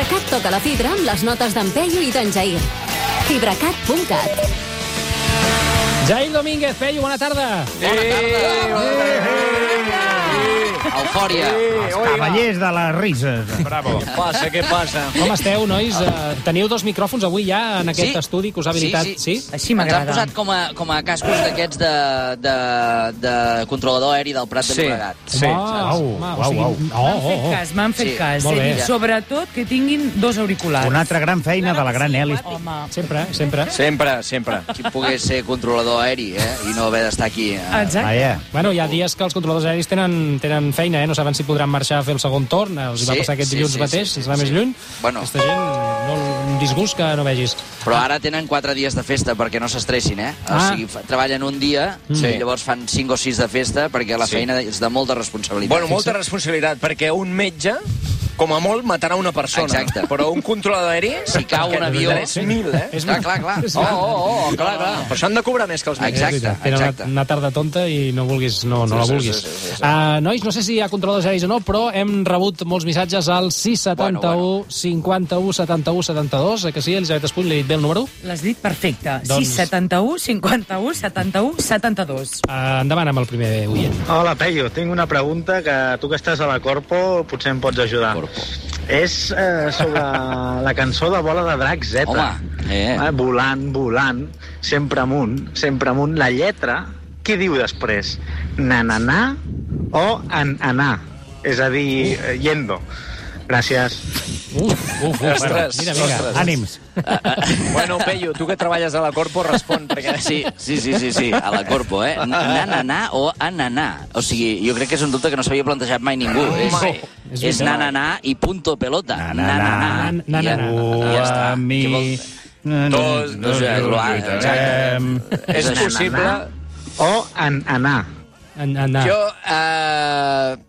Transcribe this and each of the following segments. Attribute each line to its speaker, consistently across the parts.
Speaker 1: Connecta tota la fibra amb les notes d'en Peyu i d'en Jair. Fibracat.cat
Speaker 2: Jair Domínguez, Peyu, bona tarda.
Speaker 3: Bona tarda. Eufòria.
Speaker 4: Els cavallers de les rises.
Speaker 5: Bravo.
Speaker 3: Què passa, què passa?
Speaker 2: Com esteu, nois? Eh, Teniu dos micròfons avui ja en aquest
Speaker 3: Sí.
Speaker 2: estudi que us ha habilitat?
Speaker 3: Sí, sí.
Speaker 4: Així
Speaker 3: Ens han posat com a, com a cascos d'aquests de, de, de controlador aeri del Prat de
Speaker 5: Sí.
Speaker 3: Llobregat.
Speaker 5: Sí.
Speaker 2: Uau,
Speaker 5: Au,
Speaker 2: home,
Speaker 5: au,
Speaker 2: o sigui,
Speaker 5: au.
Speaker 2: Oh,
Speaker 6: M'han
Speaker 2: oh,
Speaker 6: fet
Speaker 2: oh.
Speaker 6: cas, m'han fet
Speaker 3: Sí,
Speaker 6: cas.
Speaker 2: molt bé.
Speaker 6: I sobretot que tinguin dos auriculars.
Speaker 4: Una altra gran feina de la gran Eli.
Speaker 6: Home,
Speaker 2: Sempre, sempre.
Speaker 5: Sempre, sempre.
Speaker 3: Qui pogués ser controlador aeri, eh? I no haver d'estar aquí.
Speaker 2: Ah.
Speaker 3: Eh?
Speaker 6: exacte.
Speaker 4: Vaja.
Speaker 2: Bueno, hi ha dies que els controladors aeris tenen, tenen feina, eh? no saben si podran marxar a fer el segon torn, els hi va
Speaker 3: Sí,
Speaker 2: passar aquest
Speaker 3: sí,
Speaker 2: dilluns
Speaker 3: sí,
Speaker 2: mateix,
Speaker 3: sí, sí,
Speaker 2: ens va més
Speaker 3: sí.
Speaker 2: lluny.
Speaker 3: Bueno.
Speaker 2: Aquesta gent, no, un disgust que no vegis.
Speaker 3: Però ara tenen quatre dies de festa perquè no s'estressin, eh? O
Speaker 2: Ah.
Speaker 3: sigui, fa- treballen un dia
Speaker 5: Mm. Sí.
Speaker 3: i llavors fan cinc o sis de festa perquè la
Speaker 5: Sí.
Speaker 3: feina és de molta responsabilitat.
Speaker 5: Bueno, molta responsabilitat, perquè un metge, com a molt, matarà una persona.
Speaker 3: Exacte.
Speaker 5: Però un controlador aeri...
Speaker 3: Si cau un avió-
Speaker 5: 3.000, eh?
Speaker 2: És
Speaker 3: Clar, clar, clar.
Speaker 2: És
Speaker 3: Oh, oh, oh, clar, clar.
Speaker 5: Per això han de cobrar més que els metges.
Speaker 3: Exacte,
Speaker 2: És veritat, Tenen
Speaker 3: exacte.
Speaker 2: Una, una tarda tonta i no vulguis, no, no
Speaker 5: Sí,
Speaker 2: la
Speaker 5: sí,
Speaker 2: vulguis.
Speaker 5: sí, sí, sí, sí.
Speaker 2: Uh, nois, no sé si hi ha controladors aeris o no, però hem rebut molts missatges al 671
Speaker 3: Bueno,
Speaker 2: 51 71 72. Eh que sí, Elisabet Espuny, li he dit bé el número?
Speaker 6: L'has dit perfecte.
Speaker 2: Doncs-
Speaker 6: Doncs... 671, 51, 71, 72.
Speaker 2: Uh, endavant amb el primer oient.
Speaker 7: Hola, Peyu. Tinc una pregunta que tu que estàs a la Corpo potser em pots ajudar.
Speaker 3: Corpo.
Speaker 7: És eh, sobre la cançó de Bola de Drac Z.
Speaker 3: Home, eh.
Speaker 7: Eh, volant, volant, sempre amunt, sempre amunt. La lletra, què diu després? Na-na-na o an-anar? És a dir, eh, yendo. Gràcies.
Speaker 2: Uf, uf, uf.
Speaker 5: Ostres,
Speaker 2: mira, vinga.
Speaker 5: ostres.
Speaker 4: Ànims.
Speaker 5: Bueno, Peyu, tu que treballes a la Corpo, respon, perquè...
Speaker 3: Sí, sí, sí, sí, sí, a la Corpo, eh? Na-na-na o ananar. O sigui, jo crec que és un dubte que no s'havia plantejat mai ningú.
Speaker 5: Mai.
Speaker 3: És, és na-na-na i punto pelota. Na-na-na.
Speaker 2: Na-na-na.
Speaker 3: I ja- i Ja està. Què vol-
Speaker 5: Dos,
Speaker 3: No sé, clar, exacte.
Speaker 5: És
Speaker 3: És així.
Speaker 5: possible...
Speaker 7: O an-anar.
Speaker 2: En, en, ah. en,
Speaker 5: Jo... Eh...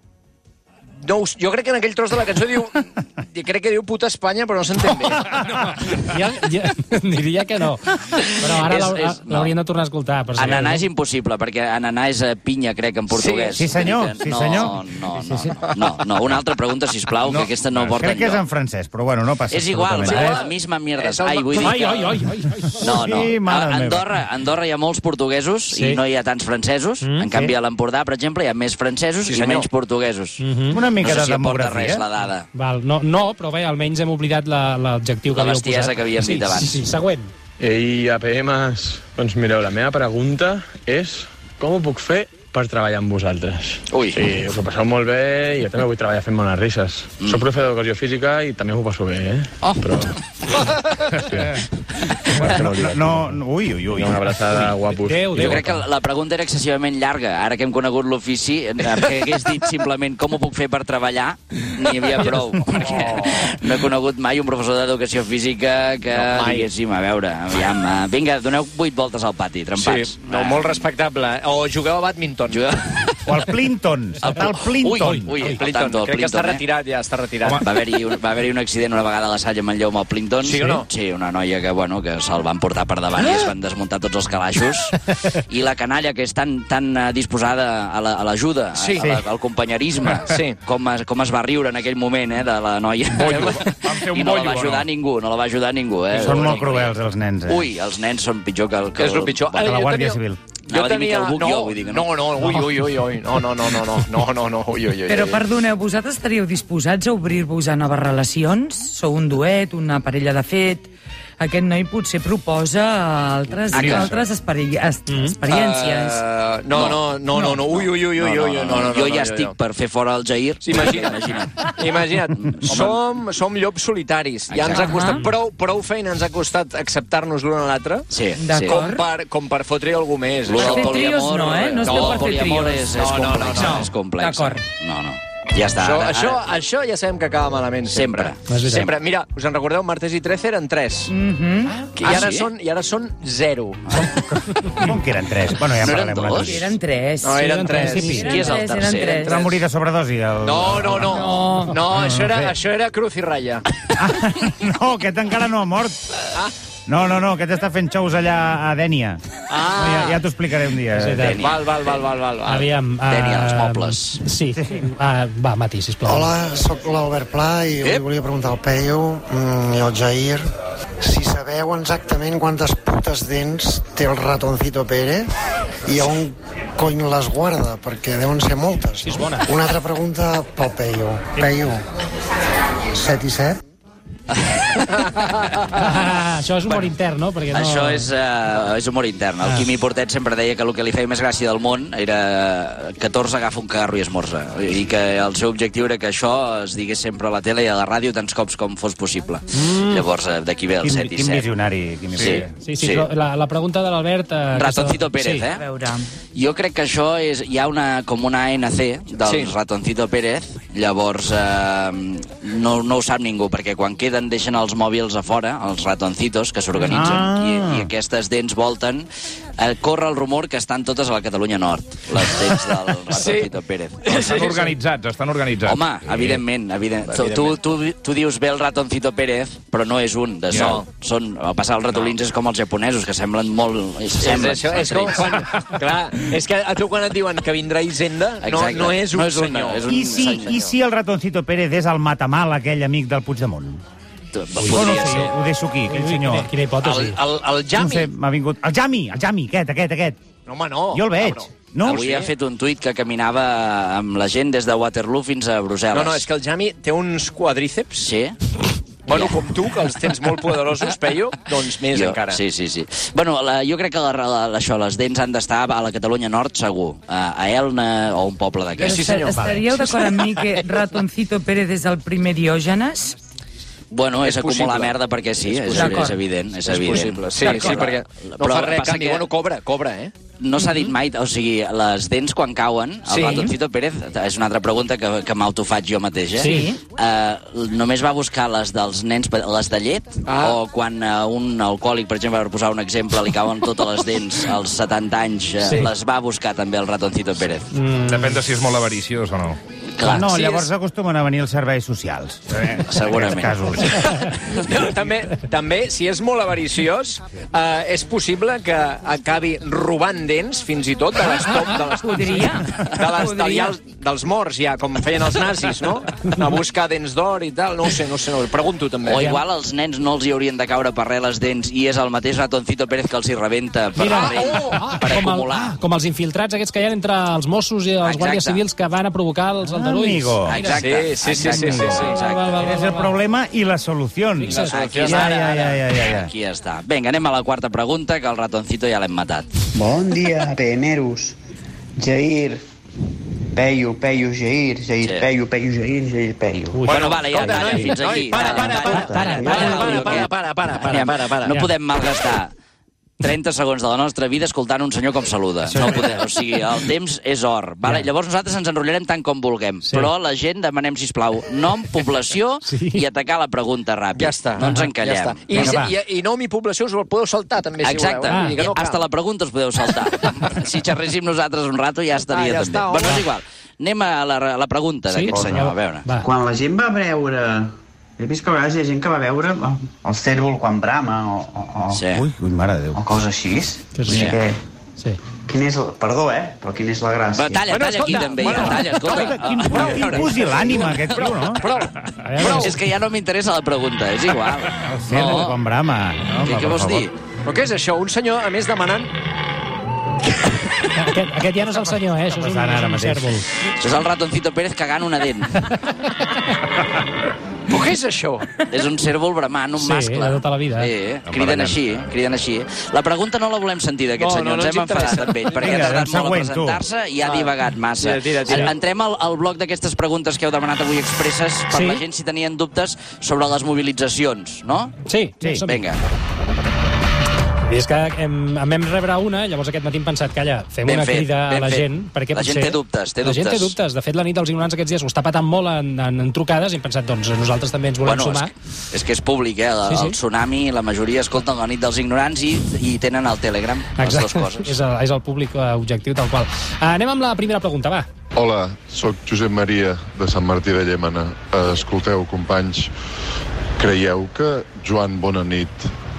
Speaker 5: No, us- jo crec que en aquell tros de la cançó diu... Crec que diu puta Espanya, però no s'entén bé.
Speaker 2: ja, ja, diria que no. Però ara
Speaker 3: És-
Speaker 2: l'hau- ah,
Speaker 3: és- no.
Speaker 2: l'hauríem de tornar a escoltar. Per saber-
Speaker 3: Ananar és impossible, perquè ananar és eh, pinya, crec, en portuguès.
Speaker 4: sí, senyor, sí,
Speaker 3: no,
Speaker 4: senyor.
Speaker 3: No, no, no, no, no. Una altra pregunta, sisplau, que aquesta no porta
Speaker 4: Crec que és en
Speaker 3: enlloc.
Speaker 4: francès, però bueno, no passa
Speaker 3: És igual,
Speaker 4: absolutament Eh?
Speaker 3: va,
Speaker 4: res.
Speaker 3: la misma mierda.
Speaker 5: És el-
Speaker 3: Ai, vull dir
Speaker 2: Ai,
Speaker 3: que...
Speaker 2: ai, ai, ai, ai.
Speaker 3: No, no.
Speaker 4: Sí,
Speaker 3: a
Speaker 4: mare
Speaker 3: Andorra, a Andorra hi ha molts portuguesos
Speaker 2: Sí.
Speaker 3: i no hi ha tants francesos. Mm, en canvi, a l'Empordà, per exemple, hi ha més francesos
Speaker 5: Sí,
Speaker 3: i
Speaker 5: senyor.
Speaker 3: menys portuguesos. Mm
Speaker 4: Mhm. Una
Speaker 3: no
Speaker 4: mica
Speaker 3: sé
Speaker 4: de eh?
Speaker 3: si aporta
Speaker 4: demografia.
Speaker 3: res la dada.
Speaker 2: Val, no, no, però bé, almenys hem oblidat la- l'adjectiu que
Speaker 3: La
Speaker 2: havíeu posat.
Speaker 3: bestiesa que havíem
Speaker 2: sí,
Speaker 3: dit abans.
Speaker 2: Sí, sí, següent.
Speaker 8: Ei, APMs, doncs mireu, la meva pregunta és com ho puc fer per treballar amb vosaltres?
Speaker 3: Ui.
Speaker 8: Sí, us ho passeu molt bé i jo també vull treballar fent bones risses. Mm. Soc profe d'educació física i també m'ho passo bé, eh?
Speaker 3: Oh.
Speaker 8: Però...
Speaker 4: No, no, no, ui, ui, ui.
Speaker 8: Una abraçada, guapos.
Speaker 2: Déu,
Speaker 3: Jo
Speaker 2: Déu.
Speaker 3: crec que la pregunta era excessivament llarga. Ara que hem conegut l'ofici, eh, que hagués dit simplement com ho puc fer per treballar, n'hi havia prou. Perquè no he conegut mai un professor d'educació física que, no, diguéssim, a veure, aviam, eh, vinga, doneu vuit voltes al pati, trempats.
Speaker 5: Sí, no, molt respectable. O jugueu a badminton.
Speaker 3: Jugueu...
Speaker 4: O el Plinton, el tal Plinton.
Speaker 3: Eh. Ah, Ui, ui, ui,
Speaker 5: El
Speaker 3: el
Speaker 5: Plinton.
Speaker 3: tanto, el
Speaker 5: Crec que està
Speaker 3: Plinton, eh?
Speaker 5: retirat, ja, està retirat.
Speaker 3: Va haver-hi un, va haver un accident una vegada a la Salla Manlleu amb el Plinton.
Speaker 5: Sí o no?
Speaker 3: Sí, una noia que, bueno, que se'l van portar per davant i es van desmuntar tots els calaixos. I la canalla, que és tan, tan eh, disposada a la- a l'ajuda, la,
Speaker 5: Sí.
Speaker 3: a la, al companyerisme,
Speaker 5: Sí.
Speaker 3: com, es, com es va riure en aquell moment eh, de la noia.
Speaker 4: Van fer un
Speaker 3: I no la
Speaker 4: bollo,
Speaker 3: va ajudar
Speaker 4: no?
Speaker 3: ningú, no la va ajudar ningú. Eh?
Speaker 4: Són
Speaker 3: Vull
Speaker 4: molt
Speaker 3: dir,
Speaker 4: cruels, els nens, eh?
Speaker 3: Ui, els nens són pitjor que el... Que
Speaker 5: És el pitjor.
Speaker 4: la
Speaker 5: Eh, jo
Speaker 4: Guàrdia
Speaker 5: tenia-
Speaker 4: Civil.
Speaker 3: Anava a dir Miquel Buch, jo, vull dir que no.
Speaker 5: No, no, ui, ui, ui, ui. No, no, no, no, no, no, no, no, ui, ui, ui.
Speaker 6: Però,
Speaker 5: ui.
Speaker 6: perdoneu, vosaltres estaríeu disposats a obrir-vos a noves relacions? Sou un duet, una parella de fet... Aquest noi potser proposa altres,
Speaker 3: Ah, clar.
Speaker 6: altres experi es-
Speaker 2: Mm-hmm.
Speaker 6: experiències.
Speaker 5: Eh, no, no, no, no, no, ui, ui, ui, ui, ui, no, no, no,
Speaker 3: jo
Speaker 5: no,
Speaker 3: ja
Speaker 5: no,
Speaker 3: estic
Speaker 5: no.
Speaker 3: per fer fora el Jair.
Speaker 5: Sí, imagina't,
Speaker 3: Imagina't.
Speaker 5: imagina't. Som, som llops solitaris. Ja ens ha
Speaker 6: Exacte.
Speaker 5: costat
Speaker 6: Ah.
Speaker 5: prou, prou feina, ens ha costat acceptar-nos l'un a l'altre.
Speaker 3: Sí, sí.
Speaker 6: D'acord.
Speaker 5: Com per, com per fotre algú més.
Speaker 3: Lo
Speaker 6: Per
Speaker 3: del
Speaker 6: fer
Speaker 5: Això-
Speaker 6: trios
Speaker 3: poliamor...
Speaker 6: no, eh? No es veu per
Speaker 3: el
Speaker 6: fer
Speaker 3: poliamor
Speaker 6: trios.
Speaker 3: és, és
Speaker 5: No, no, no,
Speaker 3: complex,
Speaker 5: no.
Speaker 3: és complex.
Speaker 6: D'acord.
Speaker 3: No, no. Ja està.
Speaker 5: Això,
Speaker 3: ara- ara-
Speaker 5: això, això ja sabem que acaba malament. Sempre.
Speaker 3: Sempre.
Speaker 2: És veritat.
Speaker 5: Sempre. Mira, us en recordeu? Martes i 13 eren 3. Mm
Speaker 6: Mm-hmm.
Speaker 5: -hmm. I,
Speaker 3: Ah,
Speaker 5: ara
Speaker 3: sí?
Speaker 5: són, I ara són 0.
Speaker 4: Com que eren tres? Bueno, ja
Speaker 3: No eren
Speaker 4: parlarem una
Speaker 3: dos?
Speaker 4: altra.
Speaker 6: Eren tres.
Speaker 5: No, eh? eren
Speaker 2: en
Speaker 5: 3.
Speaker 2: principi.
Speaker 3: Qui és el
Speaker 6: Eren tres, eren
Speaker 3: tercer?
Speaker 6: tres.
Speaker 4: Va morir de sobredosi. El...
Speaker 5: No, no, no. No,
Speaker 6: No.
Speaker 5: això, era,
Speaker 4: No, no sé.
Speaker 5: això era Cruz i Raya.
Speaker 4: Ah, no, aquest encara no ha mort. No, no, no, aquest està fent xous allà a Dènia.
Speaker 5: Ah.
Speaker 4: No, ja ja t'ho explicaré un dia.
Speaker 2: Sí, Dènia.
Speaker 5: Val, val, val, val, val. val.
Speaker 2: Aviam... Uh,
Speaker 3: Ah, Dènia, els mobles.
Speaker 2: Sí. Uh, va, Mati, sisplau.
Speaker 9: Hola, sóc l'Albert Pla i
Speaker 5: Ep.
Speaker 9: li volia preguntar al Peyu mm, i al Jair si sabeu exactament quantes putes dents té el ratoncito Pérez i on cony les guarda, perquè deuen ser moltes.
Speaker 2: és bona.
Speaker 9: Una altra pregunta pel Peyu. Peyu, 7 i 7?
Speaker 2: Ah, això és humor intern, no? Perquè no...
Speaker 3: Això és, uh, és humor intern.
Speaker 6: Ah.
Speaker 3: El Quimi Portet sempre deia que el que li feia més gràcia del món era 14 agafa un cagarro i esmorza. I que el seu objectiu era que això es digués sempre a la tele i a la ràdio tants cops com fos possible. Mm. Llavors, eh, d'aquí ve el
Speaker 4: Quin,
Speaker 3: 7 i
Speaker 4: quin
Speaker 3: 7.
Speaker 4: visionari, quin
Speaker 3: Sí.
Speaker 4: visionari.
Speaker 2: Sí, sí, sí. Però la, la pregunta de l'Albert... Eh,
Speaker 3: Ratoncito
Speaker 2: aquesta-
Speaker 3: Pérez,
Speaker 2: sí.
Speaker 3: eh?
Speaker 6: A veure...
Speaker 3: Jo crec que això és... Hi ha una, com una ANC del sí.
Speaker 5: Sí.
Speaker 3: ratoncito Pérez, llavors eh, no, no ho sap ningú, perquè quan queden deixen els mòbils a fora, els ratoncitos que s'organitzen,
Speaker 4: Ah.
Speaker 3: i, i aquestes dents volten. Eh, corre el rumor que estan totes a la Catalunya Nord, les dents del ratoncito sí. Pérez.
Speaker 10: Estan organitzats, estan organitzats.
Speaker 3: Home, evidentment, evident. Tu, tu, tu dius bé el ratoncito Pérez, però no és un de sol. No. Són, a passar els ratolins no. és com els japonesos, que semblen molt...
Speaker 5: És,
Speaker 3: Semblen,
Speaker 5: això, és com quan... Clar, és que a tu quan et diuen que vindrà Hisenda, no,
Speaker 3: Exacte.
Speaker 5: no és un
Speaker 3: No és un-
Speaker 5: senyor.
Speaker 3: és un-
Speaker 4: I si, I si el ratoncito Pérez és el matamal, aquell amic del Puigdemont?
Speaker 3: Podria
Speaker 4: no,
Speaker 3: ser.
Speaker 4: Ho deixo aquí, aquell
Speaker 2: Ui,
Speaker 4: senyor.
Speaker 2: Quina, quina hipòtesi.
Speaker 5: El, el, el
Speaker 4: No
Speaker 5: Jami...
Speaker 4: sé, m'ha vingut... El Jami, el Jami, aquest, aquest, aquest.
Speaker 5: No, home, no.
Speaker 4: Jo el veig.
Speaker 5: cabró.
Speaker 4: No?
Speaker 3: Oh, Avui ha fet un tuit que caminava amb la gent des de Waterloo fins a Brussel·les.
Speaker 5: No, no, és que el Jami té uns quadríceps,
Speaker 3: Sí?
Speaker 5: bueno, com tu, que els tens molt poderosos, Peyu, doncs més
Speaker 3: jo,
Speaker 5: encara.
Speaker 3: Sí, sí, sí. Bueno, la, jo crec que la, la, això, les dents han d'estar a la Catalunya Nord, segur. A, a Elna o un poble d'aquest.
Speaker 5: Sí, senyor.
Speaker 6: Estaríeu d'acord amb mi que Ratoncito Pérez és el primer Diògenes?
Speaker 3: Bueno, és,
Speaker 5: És possible.
Speaker 3: acumular merda perquè sí, és, és,
Speaker 6: possible.
Speaker 3: és evident. És,
Speaker 5: És
Speaker 3: evident.
Speaker 5: possible, sí, sí, perquè no
Speaker 3: Però
Speaker 5: fa res,
Speaker 3: passa
Speaker 5: Candy,
Speaker 3: que-
Speaker 5: bueno, cobra, cobra, eh?
Speaker 3: No s'ha dit mai, o sigui, les dents quan cauen, el sí.
Speaker 5: Sí.
Speaker 3: ratoncito Pérez, és una altra pregunta que, que m'autofaig jo mateix, eh?
Speaker 2: Sí.
Speaker 3: Uh, només va buscar les dels nens, pe- les de llet, ah.
Speaker 5: Ah.
Speaker 3: o quan uh, un alcohòlic, per exemple, per posar un exemple, li cauen totes les dents als 70 anys,
Speaker 2: Sí.
Speaker 3: uh, sí. les va buscar també el ratoncito Pérez.
Speaker 10: Mm. Depèn de si és molt avariciós o no.
Speaker 4: Clar, no,
Speaker 5: sí,
Speaker 4: llavors
Speaker 5: és-
Speaker 4: acostumen a venir els serveis socials. Eh,
Speaker 3: Segurament.
Speaker 4: En aquests casos.
Speaker 5: No, també, també, si és molt avariciós, eh, és possible que acabi robant dents, fins i tot, de les... top- De les
Speaker 6: Podria.
Speaker 5: De les, de,
Speaker 6: Podria.
Speaker 5: ja, dels morts, ja, com feien els nazis, no? A buscar dents d'or i tal. No ho sé, no ho sé, no. ho- Pregunto, també.
Speaker 3: O igual als nens no els hi haurien de caure per res les dents i és el mateix ratoncito Pérez que els hi rebenta per,
Speaker 2: Mira, Oh,
Speaker 3: per, per
Speaker 2: com, el,
Speaker 3: acumular.
Speaker 2: ah, com els infiltrats aquests que hi ha entre els Mossos i els
Speaker 3: Exacte.
Speaker 2: guàrdies civils que van a provocar els aldarulls.
Speaker 4: Ah,
Speaker 2: Ah,
Speaker 4: Amigo.
Speaker 3: Exacte.
Speaker 5: Sí, sí, sí, sí, sí, sí,
Speaker 2: Va, va,
Speaker 3: exacte.
Speaker 2: va, va,
Speaker 4: És el
Speaker 2: va.
Speaker 4: problema i les solucions.
Speaker 2: Fixa't.
Speaker 4: Ja,
Speaker 3: Aquí
Speaker 4: ja,
Speaker 3: està,
Speaker 4: ja, ja, ja, ja, ja.
Speaker 3: Aquí està. Vinga, anem a la quarta pregunta, que el ratoncito ja l'hem matat.
Speaker 11: Bon dia, PMeros. Jair, Peyu, Peyu, Jair, Jair,
Speaker 3: Sí.
Speaker 11: Peyu, Peyu, Jair, Jair, Peyu.
Speaker 3: Ui, bueno, vale, ja,
Speaker 5: escolta,
Speaker 3: calla,
Speaker 5: noi,
Speaker 3: fins
Speaker 5: noi,
Speaker 3: aquí.
Speaker 5: para,
Speaker 3: Calla,
Speaker 5: para,
Speaker 3: calla,
Speaker 11: para,
Speaker 3: calla,
Speaker 11: para,
Speaker 3: calla,
Speaker 5: para,
Speaker 3: calla,
Speaker 5: para,
Speaker 3: que-
Speaker 5: para, para, para,
Speaker 3: Anem,
Speaker 5: para, para.
Speaker 3: No podem malgastar 30 segons de la nostra vida escoltant un senyor com saluda. No podem, o sigui, el temps és or. Vale? Llavors nosaltres ens enrotllarem tant com vulguem, però la gent demanem, si plau nom, població i atacar la pregunta ràpid.
Speaker 5: Ja està.
Speaker 3: No ens
Speaker 5: Ja
Speaker 3: encallem.
Speaker 5: està. I,
Speaker 4: Vinga, va.
Speaker 5: i, i, nom i població us el podeu saltar, també, si
Speaker 3: Exacte.
Speaker 5: voleu. eh?
Speaker 3: Ah.
Speaker 5: Vull dir que no cal.
Speaker 3: Hasta la pregunta us podeu saltar. si xerréssim nosaltres un rato ja estaria
Speaker 5: Ah, ja
Speaker 3: també.
Speaker 5: està,
Speaker 3: bueno, és
Speaker 5: home.
Speaker 3: igual. Anem a la, a la pregunta
Speaker 2: Sí?
Speaker 3: d'aquest senyor, a veure.
Speaker 2: Va.
Speaker 11: Quan la gent va veure... He vist que a vegades hi ha gent que va veure eh, el cèrvol quan brama o, o, o,
Speaker 3: Sí.
Speaker 4: Ui, ui, mare de Déu.
Speaker 11: o coses així.
Speaker 2: Que sí.
Speaker 11: Vull dir que,
Speaker 2: Sí.
Speaker 11: quin és el... Perdó, eh? Però quina és la gràcia?
Speaker 3: Va, talla,
Speaker 5: Bueno,
Speaker 3: talla aquí
Speaker 5: escolta,
Speaker 3: també,
Speaker 5: bueno,
Speaker 3: ja, talla, escolta.
Speaker 4: Escolta, quin,
Speaker 3: Ah,
Speaker 4: quin pus i l'ànima, aquest tio, no?
Speaker 5: Prou.
Speaker 3: Prou. És que ja no m'interessa la pregunta, és igual.
Speaker 4: El cel, no. quan brama. No,
Speaker 3: Què,
Speaker 4: home,
Speaker 3: què
Speaker 4: per
Speaker 3: vols
Speaker 4: favor.
Speaker 3: dir?
Speaker 5: Però què és això? Un senyor, a més, demanant...
Speaker 2: Aquest, aquest ja no és el senyor, eh? Això és un,
Speaker 4: Passant
Speaker 2: és
Speaker 4: ara
Speaker 2: un
Speaker 4: mateix.
Speaker 2: cèrvol.
Speaker 3: Això és el ratoncito Pérez cagant una dent.
Speaker 5: Però què és això?
Speaker 3: És un cèrvol bramant, un
Speaker 2: Sí,
Speaker 3: mascle.
Speaker 2: de tota la vida.
Speaker 3: Sí, eh? criden així, criden així. eh? La pregunta no la volem sentir d'aquest
Speaker 5: No,
Speaker 3: senyor,
Speaker 5: no, no
Speaker 3: ens
Speaker 5: ens
Speaker 3: hem enfadat
Speaker 5: interessa.
Speaker 3: amb ell, perquè
Speaker 4: Vinga,
Speaker 3: ha tardat
Speaker 4: doncs
Speaker 3: molt a
Speaker 4: següent, tu.
Speaker 3: presentar-se i ha divagat massa.
Speaker 5: Tira, tira, tira.
Speaker 3: Entrem al, al bloc d'aquestes preguntes que heu demanat avui expresses per
Speaker 2: Sí.
Speaker 3: la gent si tenien dubtes sobre les mobilitzacions, no?
Speaker 2: Sí,
Speaker 4: Sí.
Speaker 2: som-hi.
Speaker 3: Vinga,
Speaker 2: I és que hem, en vam rebre una, llavors aquest matí hem pensat, calla, fem
Speaker 3: Ben
Speaker 2: una
Speaker 3: fet,
Speaker 2: crida a
Speaker 3: ben
Speaker 2: la
Speaker 3: fet.
Speaker 2: gent, perquè
Speaker 3: La gent
Speaker 2: potser-
Speaker 3: té dubtes, té
Speaker 2: la gent té
Speaker 3: dubtes.
Speaker 2: dubtes. De fet, la nit dels ignorants aquests dies ho està patant molt en, en, en trucades i hem pensat, doncs, nosaltres també ens volem
Speaker 3: bueno, és,
Speaker 2: sumar.
Speaker 3: que- és que és públic, eh? El,
Speaker 2: Sí, sí.
Speaker 3: el tsunami, la majoria escolten la nit dels ignorants i, i tenen el Telegram, les dues coses.
Speaker 2: és el, és el públic eh, objectiu tal qual. Uh, anem amb la primera pregunta, va.
Speaker 8: Hola, sóc Josep Maria, de Sant Martí de Eh, Llémena. Escolteu, companys, creieu que Joan Bonanit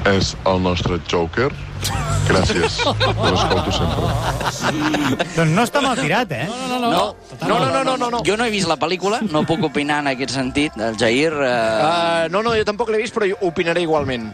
Speaker 12: és el nostre Joker. Gràcies. L'escolto sempre.
Speaker 4: Doncs no està mal tirat, eh?
Speaker 3: No, no, no. No, no, no, no, no, no. Jo no he vist la pel·lícula, no puc opinar en aquest sentit. El Jair...
Speaker 2: Ah.
Speaker 3: Eh...
Speaker 5: Uh, no, no, jo tampoc l'he vist, però jo opinaré igualment.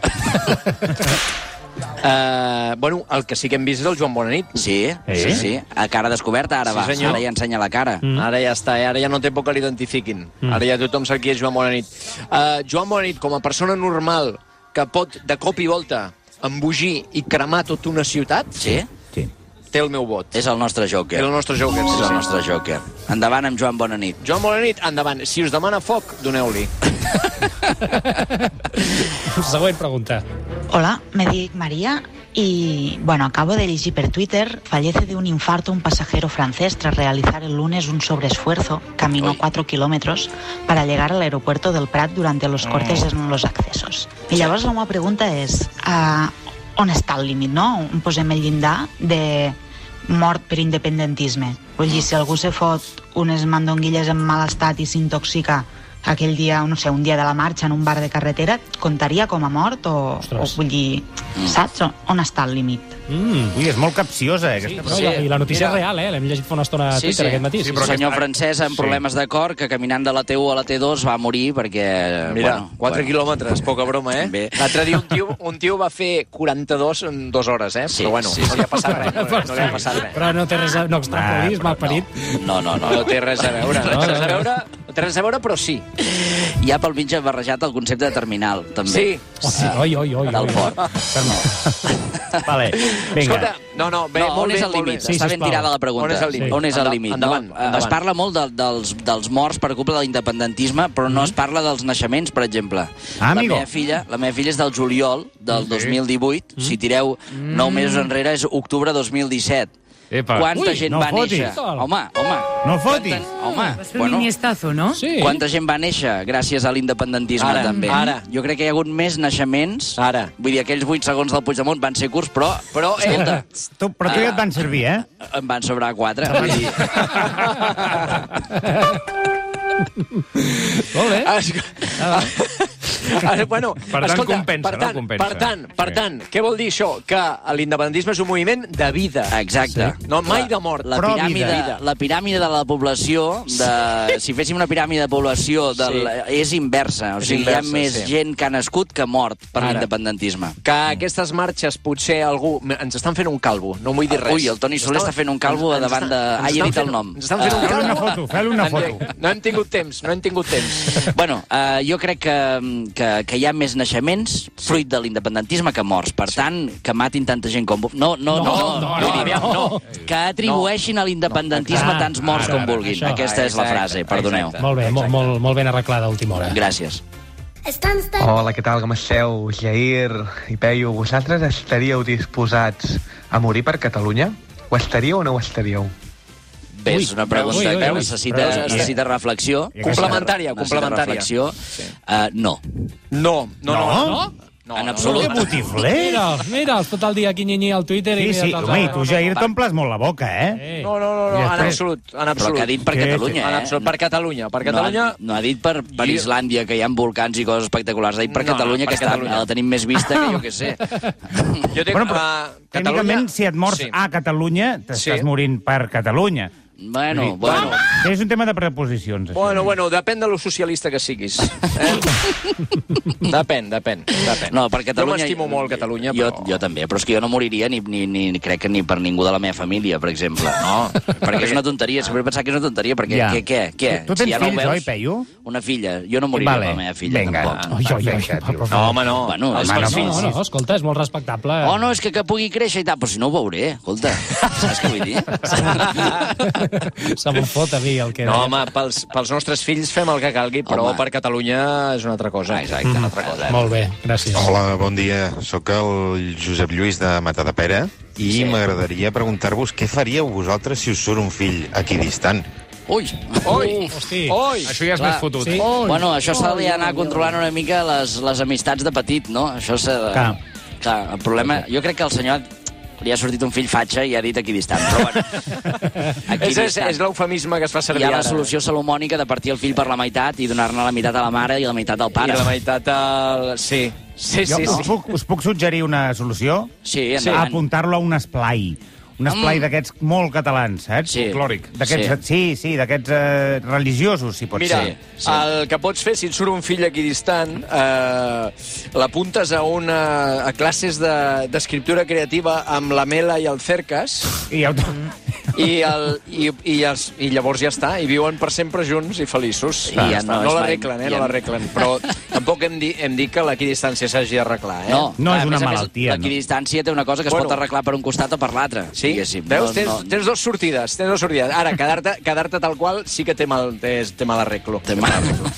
Speaker 5: uh, bueno, el que sí que hem vist és el Joan Bonanit.
Speaker 3: Sí, eh? sí, sí. A cara descoberta, ara
Speaker 5: Sí,
Speaker 3: va.
Speaker 5: senyor.
Speaker 3: Ara ja ensenya la cara.
Speaker 5: Mm. Ara ja està, eh? ara ja no té por que l'identifiquin.
Speaker 3: Mm.
Speaker 5: Mm. Ara ja tothom sap qui és Joan Bonanit. Uh, Joan Bonanit, com a persona normal que pot de cop i volta embogir i cremar tota una ciutat,
Speaker 3: Sí?
Speaker 4: Sí.
Speaker 5: té el meu vot.
Speaker 3: És el nostre Joker.
Speaker 5: És el nostre Joker, sí,
Speaker 3: És el
Speaker 5: sí.
Speaker 3: nostre Joker. Endavant amb Joan Bonanit.
Speaker 5: Joan Bonanit, endavant. Si us demana foc, doneu-li.
Speaker 2: Següent pregunta.
Speaker 13: Hola, me dic María y bueno, acabo de elegir por Twitter, fallece de un infarto un pasajero francés tras realizar el lunes un sobreesfuerzo, caminó 4 kilómetros para llegar al aeropuerto del Prat durante los cortes en los accesos. I llavors la meva pregunta és uh, on està el límit, no? On posem el llindar de mort per independentisme? Vull dir, si algú se fot unes mandonguilles en mal estat i s'intoxica aquell dia, no sé, un dia de la marxa en un bar de carretera, comptaria com a mort o, o vull dir, saps on, on està el límit?
Speaker 4: Mm. Ui, és molt capciosa, eh, aquesta
Speaker 2: No, sí, I la notícia és real, eh? L'hem llegit fa una estona a
Speaker 3: Sí,
Speaker 2: Twitter
Speaker 3: sí.
Speaker 2: aquest matí.
Speaker 3: Sí, però senyor francès amb problemes de cor que caminant de la T1 a la T2 va morir perquè...
Speaker 5: Mira,
Speaker 3: bueno,
Speaker 5: 4 bueno. quilòmetres, poca broma, eh? L'altre dia un tio, un tio va fer 42 en dues hores, eh? Sí, Però bueno,
Speaker 3: sí,
Speaker 5: sí, no li
Speaker 3: sí.
Speaker 5: ha passat res. No, li- no li ha passat res.
Speaker 2: Però no té res a... No extrapolis, mal parit.
Speaker 3: Ah, No, no, no.
Speaker 5: No té res a veure, no té res a veure, no té res a veure, però sí.
Speaker 3: Hi ha pel mig barrejat el concepte de terminal, també.
Speaker 5: Sí.
Speaker 2: Hosti,
Speaker 3: Ah.
Speaker 2: oi, oi, oi.
Speaker 3: Del port.
Speaker 4: Vale, vinga.
Speaker 5: Escolta, no, no, bé,
Speaker 3: no,
Speaker 5: molt
Speaker 3: on
Speaker 5: bé,
Speaker 3: és el
Speaker 5: molt bé.
Speaker 3: límit? Està ben tirada la pregunta.
Speaker 5: On és el límit?
Speaker 3: On és el
Speaker 5: Enda-
Speaker 3: límit?
Speaker 5: Endavant,
Speaker 3: no? eh,
Speaker 5: endavant.
Speaker 3: Es parla molt de, dels, dels morts per culpa de l'independentisme, però
Speaker 5: Mhm.
Speaker 3: no es parla dels naixements, per exemple.
Speaker 4: Ah, amigo.
Speaker 3: La meva filla, la meva filla és del juliol del 2018.
Speaker 5: Mhm.
Speaker 3: Si tireu 9 mesos enrere és octubre 2017.
Speaker 10: Epa.
Speaker 3: Quanta
Speaker 10: Ui,
Speaker 3: gent
Speaker 10: no
Speaker 3: va
Speaker 10: fotis.
Speaker 3: néixer? Home, home.
Speaker 4: No fotis.
Speaker 3: Home,
Speaker 6: Vas fer bueno. un miniestazo, no?
Speaker 2: Sí.
Speaker 3: Quanta gent va néixer gràcies a l'independentisme,
Speaker 5: Ara,
Speaker 3: també.
Speaker 5: ara.
Speaker 3: Jo crec que hi ha hagut més naixements.
Speaker 5: Ara.
Speaker 3: Vull dir, aquells 8 segons del Puigdemont van ser curts, però... Però, escolta,
Speaker 4: Tu, però tu ja et van servir, eh?
Speaker 3: em van sobrar 4. Vull dir,
Speaker 2: Molt bé.
Speaker 5: Esco... Ah, bueno,
Speaker 10: Per tant,
Speaker 5: escolta,
Speaker 10: compensa,
Speaker 5: per
Speaker 10: no?
Speaker 5: tant,
Speaker 10: Compensa.
Speaker 5: Per tant, per
Speaker 10: Sí.
Speaker 5: tant, què vol dir això? Que l'independentisme és un moviment de vida.
Speaker 3: Exacte.
Speaker 5: No, mai de mort.
Speaker 3: La piràmide, la piràmide de la població, de, si féssim una piràmide de població, de,
Speaker 5: Sí.
Speaker 3: la, és inversa. O
Speaker 5: És
Speaker 3: sigui,
Speaker 5: inversa,
Speaker 3: hi ha més
Speaker 5: sí.
Speaker 3: gent que ha nascut que mort per
Speaker 5: Ara.
Speaker 3: l'independentisme.
Speaker 5: Que aquestes marxes potser algú... Ens estan fent un calvo, no vull dir res.
Speaker 3: Ui, el Toni Soler està fent un calvo
Speaker 5: ens
Speaker 3: davant
Speaker 5: estan-
Speaker 3: de-
Speaker 5: ens
Speaker 3: Ai, he
Speaker 5: estan
Speaker 3: dit el
Speaker 5: fent-
Speaker 3: nom.
Speaker 5: Ens estan fent
Speaker 3: Eh,
Speaker 5: un calvo.
Speaker 4: Feu-li una foto, feu-li una foto.
Speaker 5: No hem tingut temps, no hem tingut temps.
Speaker 3: Bueno, eh, jo crec que, que, que hi ha més naixements fruit de l'independentisme que morts. Per tant, que matin tanta gent com... No, no, no.
Speaker 5: no, no, no, aviam, no.
Speaker 3: Que atribueixin a l'independentisme
Speaker 2: Clar,
Speaker 3: tants morts
Speaker 2: ara,
Speaker 3: com
Speaker 2: ara,
Speaker 3: vulguin.
Speaker 2: això.
Speaker 3: Aquesta és la
Speaker 2: Exacte,
Speaker 3: frase, perdoneu.
Speaker 2: Molt bé, molt, molt, molt ben arreglada a última hora.
Speaker 3: Gràcies.
Speaker 14: Hola, què tal, com esteu? Jair i Peyu, vosaltres estaríeu disposats a morir per Catalunya? Ho estaríeu o no ho estaríeu?
Speaker 3: Bé, és una pregunta
Speaker 5: Ui, ui, ui,
Speaker 3: que
Speaker 5: ui.
Speaker 3: necessita,
Speaker 5: Però, eh,
Speaker 3: necessita reflexió.
Speaker 5: I aquesta- Complementària,
Speaker 3: Necessita
Speaker 5: complementària.
Speaker 3: Reflexió. Eh, no.
Speaker 5: No, no, no. no.
Speaker 3: no en absolut.
Speaker 4: Que botifler!
Speaker 2: Mira, mira, tot el dia aquí nyinyir al Twitter i
Speaker 4: Eh?
Speaker 2: mira
Speaker 4: Sí, sí,
Speaker 3: doncs,
Speaker 2: tots
Speaker 4: home, i
Speaker 2: els-
Speaker 4: tu, Jair, t'omples molt la boca, eh?
Speaker 5: No, no, no, no,
Speaker 4: I
Speaker 5: en
Speaker 4: després-
Speaker 5: absolut, en absolut.
Speaker 3: que ha dit per
Speaker 4: Sí, sí.
Speaker 3: Catalunya,
Speaker 5: En
Speaker 3: eh?
Speaker 5: absolut, per Catalunya, per
Speaker 3: No
Speaker 5: Catalunya...
Speaker 3: ha, no ha dit per, per
Speaker 5: Jo-
Speaker 3: Islàndia, que hi ha volcans i coses espectaculars. Ha dit per
Speaker 5: No,
Speaker 3: Catalunya,
Speaker 5: per
Speaker 3: que està,
Speaker 5: Catalunya.
Speaker 3: la tenim més vista que jo que sé.
Speaker 5: Jo dic,
Speaker 4: Bueno, però
Speaker 5: uh,
Speaker 4: Tècnicament, si et mors ah. a Catalunya, t'estàs
Speaker 5: Sí.
Speaker 4: morint per Catalunya.
Speaker 3: Bueno,
Speaker 4: Vull dir,
Speaker 3: bueno.
Speaker 4: És un tema de preposicions, això.
Speaker 5: Bueno, bueno, depèn de lo socialista que siguis. Eh? depèn, depèn, depèn.
Speaker 3: No, per Catalunya...
Speaker 5: Jo m'estimo molt Catalunya,
Speaker 3: jo,
Speaker 5: però...
Speaker 3: jo també, però és que jo no moriria ni, ni, ni crec que ni per ningú de la meva família, per exemple. No, perquè és una tonteria, sempre he pensat que és una tonteria, perquè
Speaker 4: Ja.
Speaker 3: què, què, què?
Speaker 4: Tu tens
Speaker 3: no ho
Speaker 4: fills,
Speaker 3: veus?
Speaker 4: oi, Peyu?
Speaker 3: Una filla. Jo no moriria
Speaker 4: Vale.
Speaker 3: per la meva filla,
Speaker 4: Vinga,
Speaker 3: tampoc.
Speaker 4: Oi, oi, oi.
Speaker 5: No, home, no.
Speaker 3: Bueno,
Speaker 5: Els
Speaker 3: és per
Speaker 5: meus
Speaker 3: fills.
Speaker 2: No, no, escolta, és molt respectable.
Speaker 3: Oh, no, és que que pugui créixer i tal. Però si no ho veuré, escolta. Saps què vull dir?
Speaker 2: Se me'n fot a mi el que...
Speaker 5: No, home, pels, pels nostres fills fem el que calgui, però
Speaker 3: Home. Ah,
Speaker 5: home. per Catalunya és una altra cosa. Exacte, una altra cosa.
Speaker 2: Molt bé, gràcies.
Speaker 8: Oh,
Speaker 15: Hola, bon dia. Sóc el Josep Lluís de Matadepera i sí. m'agradaria preguntar-vos què faríeu vosaltres si us surt un fill equidistant.
Speaker 3: Ui!
Speaker 5: Oi!
Speaker 2: Hosti.
Speaker 5: Oi!
Speaker 10: Això ja és
Speaker 3: Clar,
Speaker 10: més fotut.
Speaker 2: sí.
Speaker 10: eh?
Speaker 3: Bueno, això s'ha d'anar controlant una mica les, les amistats de petit, no? Això s'ha de...
Speaker 4: Clar.
Speaker 3: Clar, el problema... Jo crec que el senyor li ha sortit un fill fatxa i ha dit equidistant. Però bueno,
Speaker 5: És, és,
Speaker 3: equidistant.
Speaker 5: és l'eufemisme que es fa
Speaker 3: Hi
Speaker 5: servir
Speaker 3: ha la
Speaker 5: ara.
Speaker 3: solució salomònica de partir el fill per la meitat i donar-ne la meitat a la mare i la meitat al
Speaker 5: I
Speaker 3: pare.
Speaker 5: la meitat... El... Sí,
Speaker 4: Sí, jo
Speaker 5: sí,
Speaker 4: us,
Speaker 5: sí.
Speaker 4: Puc, us puc suggerir una solució?
Speaker 5: Sí, endavant.
Speaker 4: Apuntar-lo a un esplai. Un esplai
Speaker 5: Mm.
Speaker 4: mm. d'aquests molt catalans, saps?
Speaker 5: Sí. Folclòric.
Speaker 4: D'aquests, sí. sí, sí, d'aquests eh, religiosos, si pot
Speaker 5: Mira,
Speaker 4: ser.
Speaker 5: sí, sí. el que pots fer, si et surt un fill equidistant, eh, l'apuntes a, una, a classes de- d'escriptura de, creativa amb la Mela i el Cercas,
Speaker 4: I ja ho...
Speaker 5: i, el, i, i, els, i llavors ja està, i viuen per sempre junts i feliços.
Speaker 3: I ja no
Speaker 5: no,
Speaker 3: es
Speaker 5: no
Speaker 3: van-
Speaker 5: l'arreglen, eh,
Speaker 3: ja
Speaker 5: no
Speaker 3: no.
Speaker 5: l'arreglen, però tampoc hem dit, hem dit que l'equidistància s'hagi d'arreglar. Eh?
Speaker 3: No, clar, a més a més,
Speaker 5: Més,
Speaker 3: L'equidistància té una cosa que es
Speaker 5: Bueno.
Speaker 3: pot arreglar per un costat o per l'altre.
Speaker 5: Sí?
Speaker 3: diguéssim.
Speaker 5: Veus?
Speaker 3: No-
Speaker 5: tens,
Speaker 3: no-
Speaker 5: tens dues sortides, tens dues sortides. Ara, quedar-te quedar tal qual sí que té mal, té, té mal arreglo. Té mal arreglo.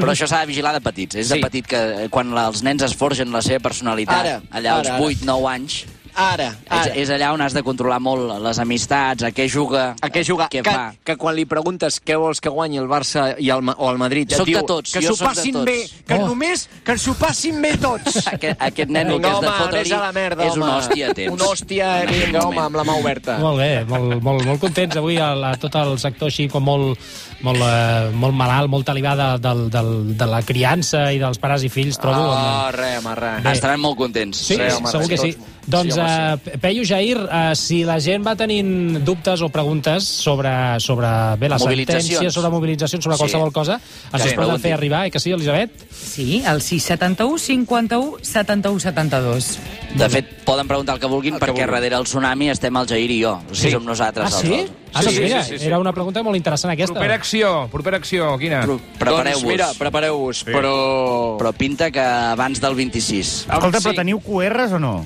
Speaker 3: Però això s'ha de vigilar de petits. És de
Speaker 5: Sí.
Speaker 3: petit que eh, quan la- els nens es forgen la seva personalitat,
Speaker 5: Ara,
Speaker 3: allà als
Speaker 5: ara, ara.
Speaker 3: 8-9 anys,
Speaker 5: Ara,
Speaker 3: és, Ah, és allà on has de controlar molt les amistats, a què juga,
Speaker 5: A què jugar?
Speaker 3: què
Speaker 5: que,
Speaker 3: fa.
Speaker 5: que quan li preguntes què vols que guanyi el Barça i el, Ma- o el Madrid, et
Speaker 3: Soc de
Speaker 5: diu
Speaker 3: tots,
Speaker 5: que
Speaker 3: jo
Speaker 5: s'ho
Speaker 3: soc de
Speaker 5: passin
Speaker 3: tots.
Speaker 5: bé, que
Speaker 3: Oh.
Speaker 5: només que s'ho passin bé tots.
Speaker 3: Aquest, aquest nen el que
Speaker 5: Vinga,
Speaker 3: és de
Speaker 5: home,
Speaker 3: fotre-li
Speaker 5: anés a la merda,
Speaker 3: és un
Speaker 5: home.
Speaker 3: hòstia a temps.
Speaker 5: Un hòstia, vinga, home, amb la mà oberta.
Speaker 2: Molt bé, molt, molt, molt contents avui a, la, a tot el sector així com molt, molt, eh, molt malalt, molt talibà de, de, de, de la criança i dels pares i fills, trobo.
Speaker 5: Ah,
Speaker 2: amb-
Speaker 5: re, home, re.
Speaker 2: Bé.
Speaker 3: Estaran molt contents.
Speaker 2: Sí, sí segur que sí. Doncs,
Speaker 3: Sí, home,
Speaker 2: eh, Peyu Jair, eh, si la gent va tenint dubtes o preguntes sobre, sobre bé, la
Speaker 3: Mobilitzacions.
Speaker 2: sentència, sobre mobilitzacions, sobre
Speaker 6: Sí.
Speaker 2: qualsevol cosa, ens
Speaker 6: Sí.
Speaker 2: les poden
Speaker 6: Pregunti.
Speaker 2: fer arribar, eh, que sí, Elisabet?
Speaker 6: Sí, el 671 51 71 72.
Speaker 3: De fet, poden preguntar el que vulguin, perquè darrere el tsunami estem el Jair i jo. O
Speaker 2: Sí.
Speaker 3: sigui, som nosaltres.
Speaker 2: Ah, sí?
Speaker 3: Els dos.
Speaker 2: Ah, doncs mira, era una pregunta molt interessant aquesta.
Speaker 3: Propera
Speaker 2: acció, propera acció, quina?
Speaker 3: Prepareu-vos.
Speaker 2: Doncs mira,
Speaker 5: prepareu-vos, però...
Speaker 3: Però pinta que abans del 26.
Speaker 4: Escolta, però teniu QRs o no?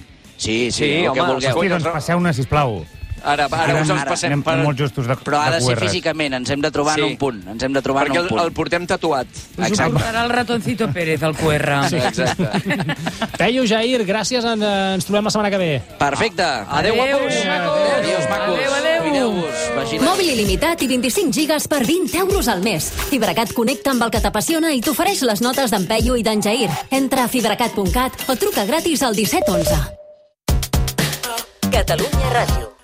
Speaker 3: Sí, sí, sí el que vulgueu.
Speaker 4: Hosti, doncs passeu-ne, sisplau.
Speaker 5: Ara,
Speaker 3: ara us els passem
Speaker 4: anem
Speaker 3: per-
Speaker 4: molt justos de,
Speaker 3: Però ha de ser
Speaker 4: de QRs.
Speaker 3: físicament, ens hem de trobar sí.
Speaker 5: Sí.
Speaker 3: en un punt. Ens hem de trobar
Speaker 5: Perquè
Speaker 3: en un
Speaker 5: el-
Speaker 3: punt.
Speaker 5: el portem tatuat.
Speaker 6: Us ho portarà el ratoncito Pérez, el QR.
Speaker 2: Sí, exacte. Peyu Jair, gràcies, en, eh, ens trobem la setmana que ve.
Speaker 3: Perfecte. Adéu, guapos. Adéu, macos. Adéu, adéu. Cuideu-vil.
Speaker 1: Mòbil il·limitat i 25 gigas per 20 euros al mes. Fibracat connecta amb el que t'apassiona i t'ofereix les notes d'en Peyu i d'en Jair. Entra a fibracat.cat o truca gratis al 1711. Catalunya Ràdio.